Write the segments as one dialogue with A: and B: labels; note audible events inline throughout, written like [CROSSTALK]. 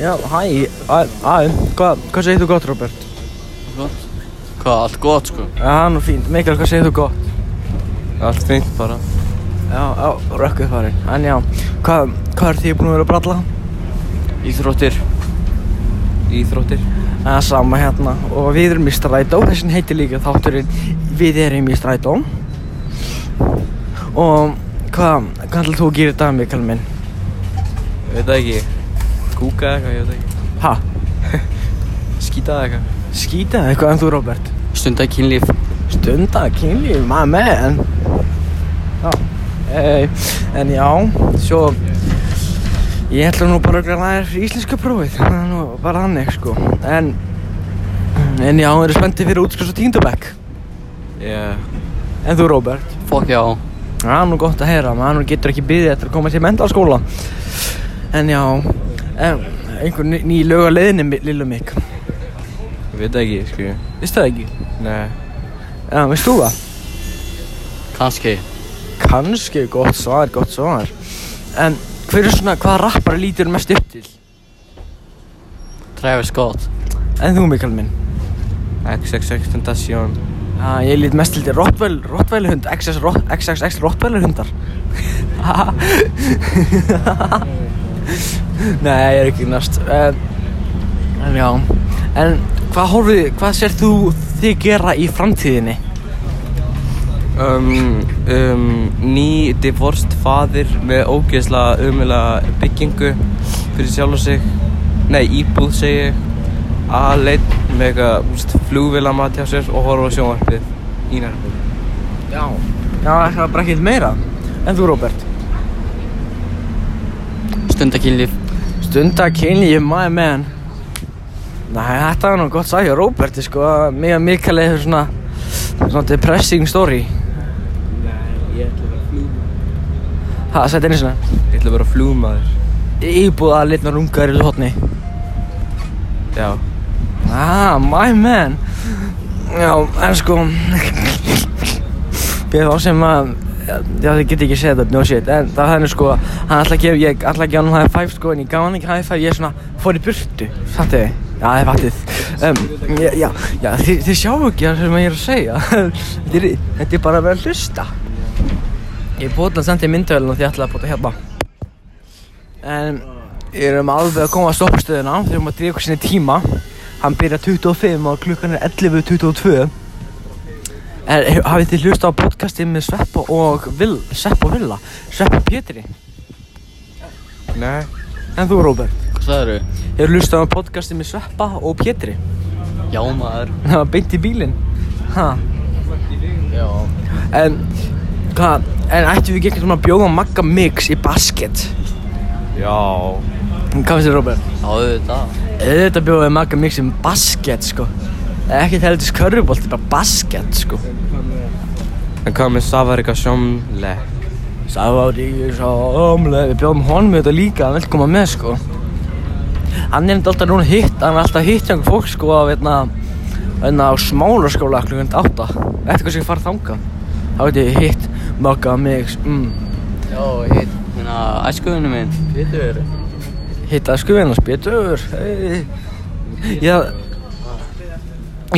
A: Já, hæ, æ, æ, hvað, hvað segir þú gott, Robert?
B: Gott. Hvað, allt gott sko?
A: Já, hann er fínt, Mikael, hvað segir þú gott?
B: Allt fínt bara.
A: Já, já, rökkuð farin, en já, hvað, hvað er því búin að vera að bralla?
B: Íþróttir. Íþróttir.
A: Það er sama hérna, og við erum í strætó, þessin heitir líka þátturinn, við erum í strætó. Og hvað, hvað ætlar þú að gera í dag, Mikael minn?
B: Ég veit það ekki. Kúka eitthvað, ég veit það ekki.
A: Ha,
B: Skýta eitthvað.
A: skýta eitthvað en þú, Robert?
B: Stunda kynlíf.
A: Stunda, kynlíf, my man Já, e, en já, svo Ég ætla nú bara örugglega að læra íslenska prófið Það er nú bara þannig, sko En, en já, eru spenntið fyrir útskrift og tíndabæk
B: Yeah.
A: En þú, Róbert?
B: Fokk já.
A: Það er nú gott að heyra, maður getur ekki byðið eftir að koma til mentalskóla En já, en, einhver ný, ný lög á leiðinni, Lillu Mikk
B: Ég veit það ekki, sko.
A: Vistu það ekki?
B: Nei.
A: Já, veist þú það?
B: Kanski.
A: Kanski gott svar, gott svar En hver er svona, hvaða rappar lítur mest upp til?
B: Travis Scott.
A: En þú Mikael minn?
B: XXX Tentacion.
A: Já, ég lít mest til til Rottweil, Rottweil hund, XS, Rott, XXX Rottweiler hundar [LAUGHS] Nei, ég er ekki næst En, en já, en hvað horfið, hvað sér þú þig gera í framtíðinni?
B: Um, um, ný divorced faðir með ógeðsla umvila byggingu fyrir sjálf og sig nei, íbúð segi ég aðleitt með eitthvað þú veist, flugvélamat hjá sér og horfa á sjónvarpið í nærmið
A: Já Já, það er bara ekkert meira En þú Róbert?
B: Stunda kynlíf
A: Stunda kynni ég my man Nei, þetta var nú gott sagði Róberti sko Mig og Mikael hefur svona Svona depressing story
B: Nei, ég ætla að vera flugmaður
A: Ha, sætt einu svona
B: Ég ætla að vera flugmaður
A: Íbúða litnar ungar í hotni
B: Já,
A: Ah, my man Já, en sko Við þá sem að Já, þið get ekki segja þetta, no shit En það er nú sko, hann ætla að gefa Ég ætla að gefa hann high five sko En ég gaf hann ekki high five, ég svona fór í burtu Fattu þið? Já, þið fattið um, Já, já, já þið, þið sjáu ekki það sem ég er að segja [LAUGHS] þetta, er, þetta er bara að vera að hlusta Ég bóta hann sendið myndavélun og þið ætla að bóta hérna En Við erum alveg að koma að stoppstöðuna Við erum að drífa okkur sinni tíma Hann byrjar 25 og klukkan er 11.22 En hef- hafið þið hlust á podcastið með Sveppa og Vil, Sveppa og Villa Sveppa og Pétri
B: nei
A: En þú Róbert
B: Hvað það eru?
A: Hefur hlust á podcastið með Sveppa og Pétri [LAUGHS]
B: Já maður
A: Það var beint í bílinn Ha
B: Já
A: En Hvað En ættum við ekki svona að bjóða Magga Mix í basket
B: Já
A: Hvað finnst þið Róbert?
B: Já, auðvitað
A: Auðvitað bjóðum við Magga Mix um basket sko Ekki heldur skörrubolt, bara basket sko
B: En hvað með Savarika Sjómle?
A: Sávarík, sámlega, við bjóðum honum þetta líka, hann vil koma með sko. Hann er enda alltaf núna hitt, hann er alltaf hitt hjá einhver fólk sko á, veitna, veitna á smálarskóla klukkan átta. Eftir hvað sem ég fara þangað. Þá veit ég hitt, magga mig, mm,
B: Já, hitt Þannig að æskuðinu minn Pétur
A: hitt að skufina spjötur. hérna, Hey. Ég,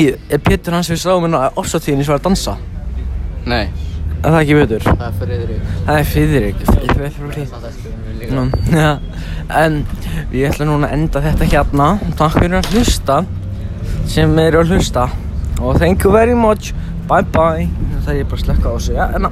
A: ég, er Pétur hans við sáum hérna á ofsatíðinni svo að dansa.
B: Nei,
A: En það er ekki Pétur,
B: það er Friðrik
A: það er Fíðrik. Fíðrik, Fíðrik.
B: Það er æskuðinu minn
A: Nú, já, en við ætlum núna að enda þetta hérna Takk fyrir að hlusta sem eru að hlusta og thank you very much, bye bye Það er ég bara að slekka á þessu, já, en að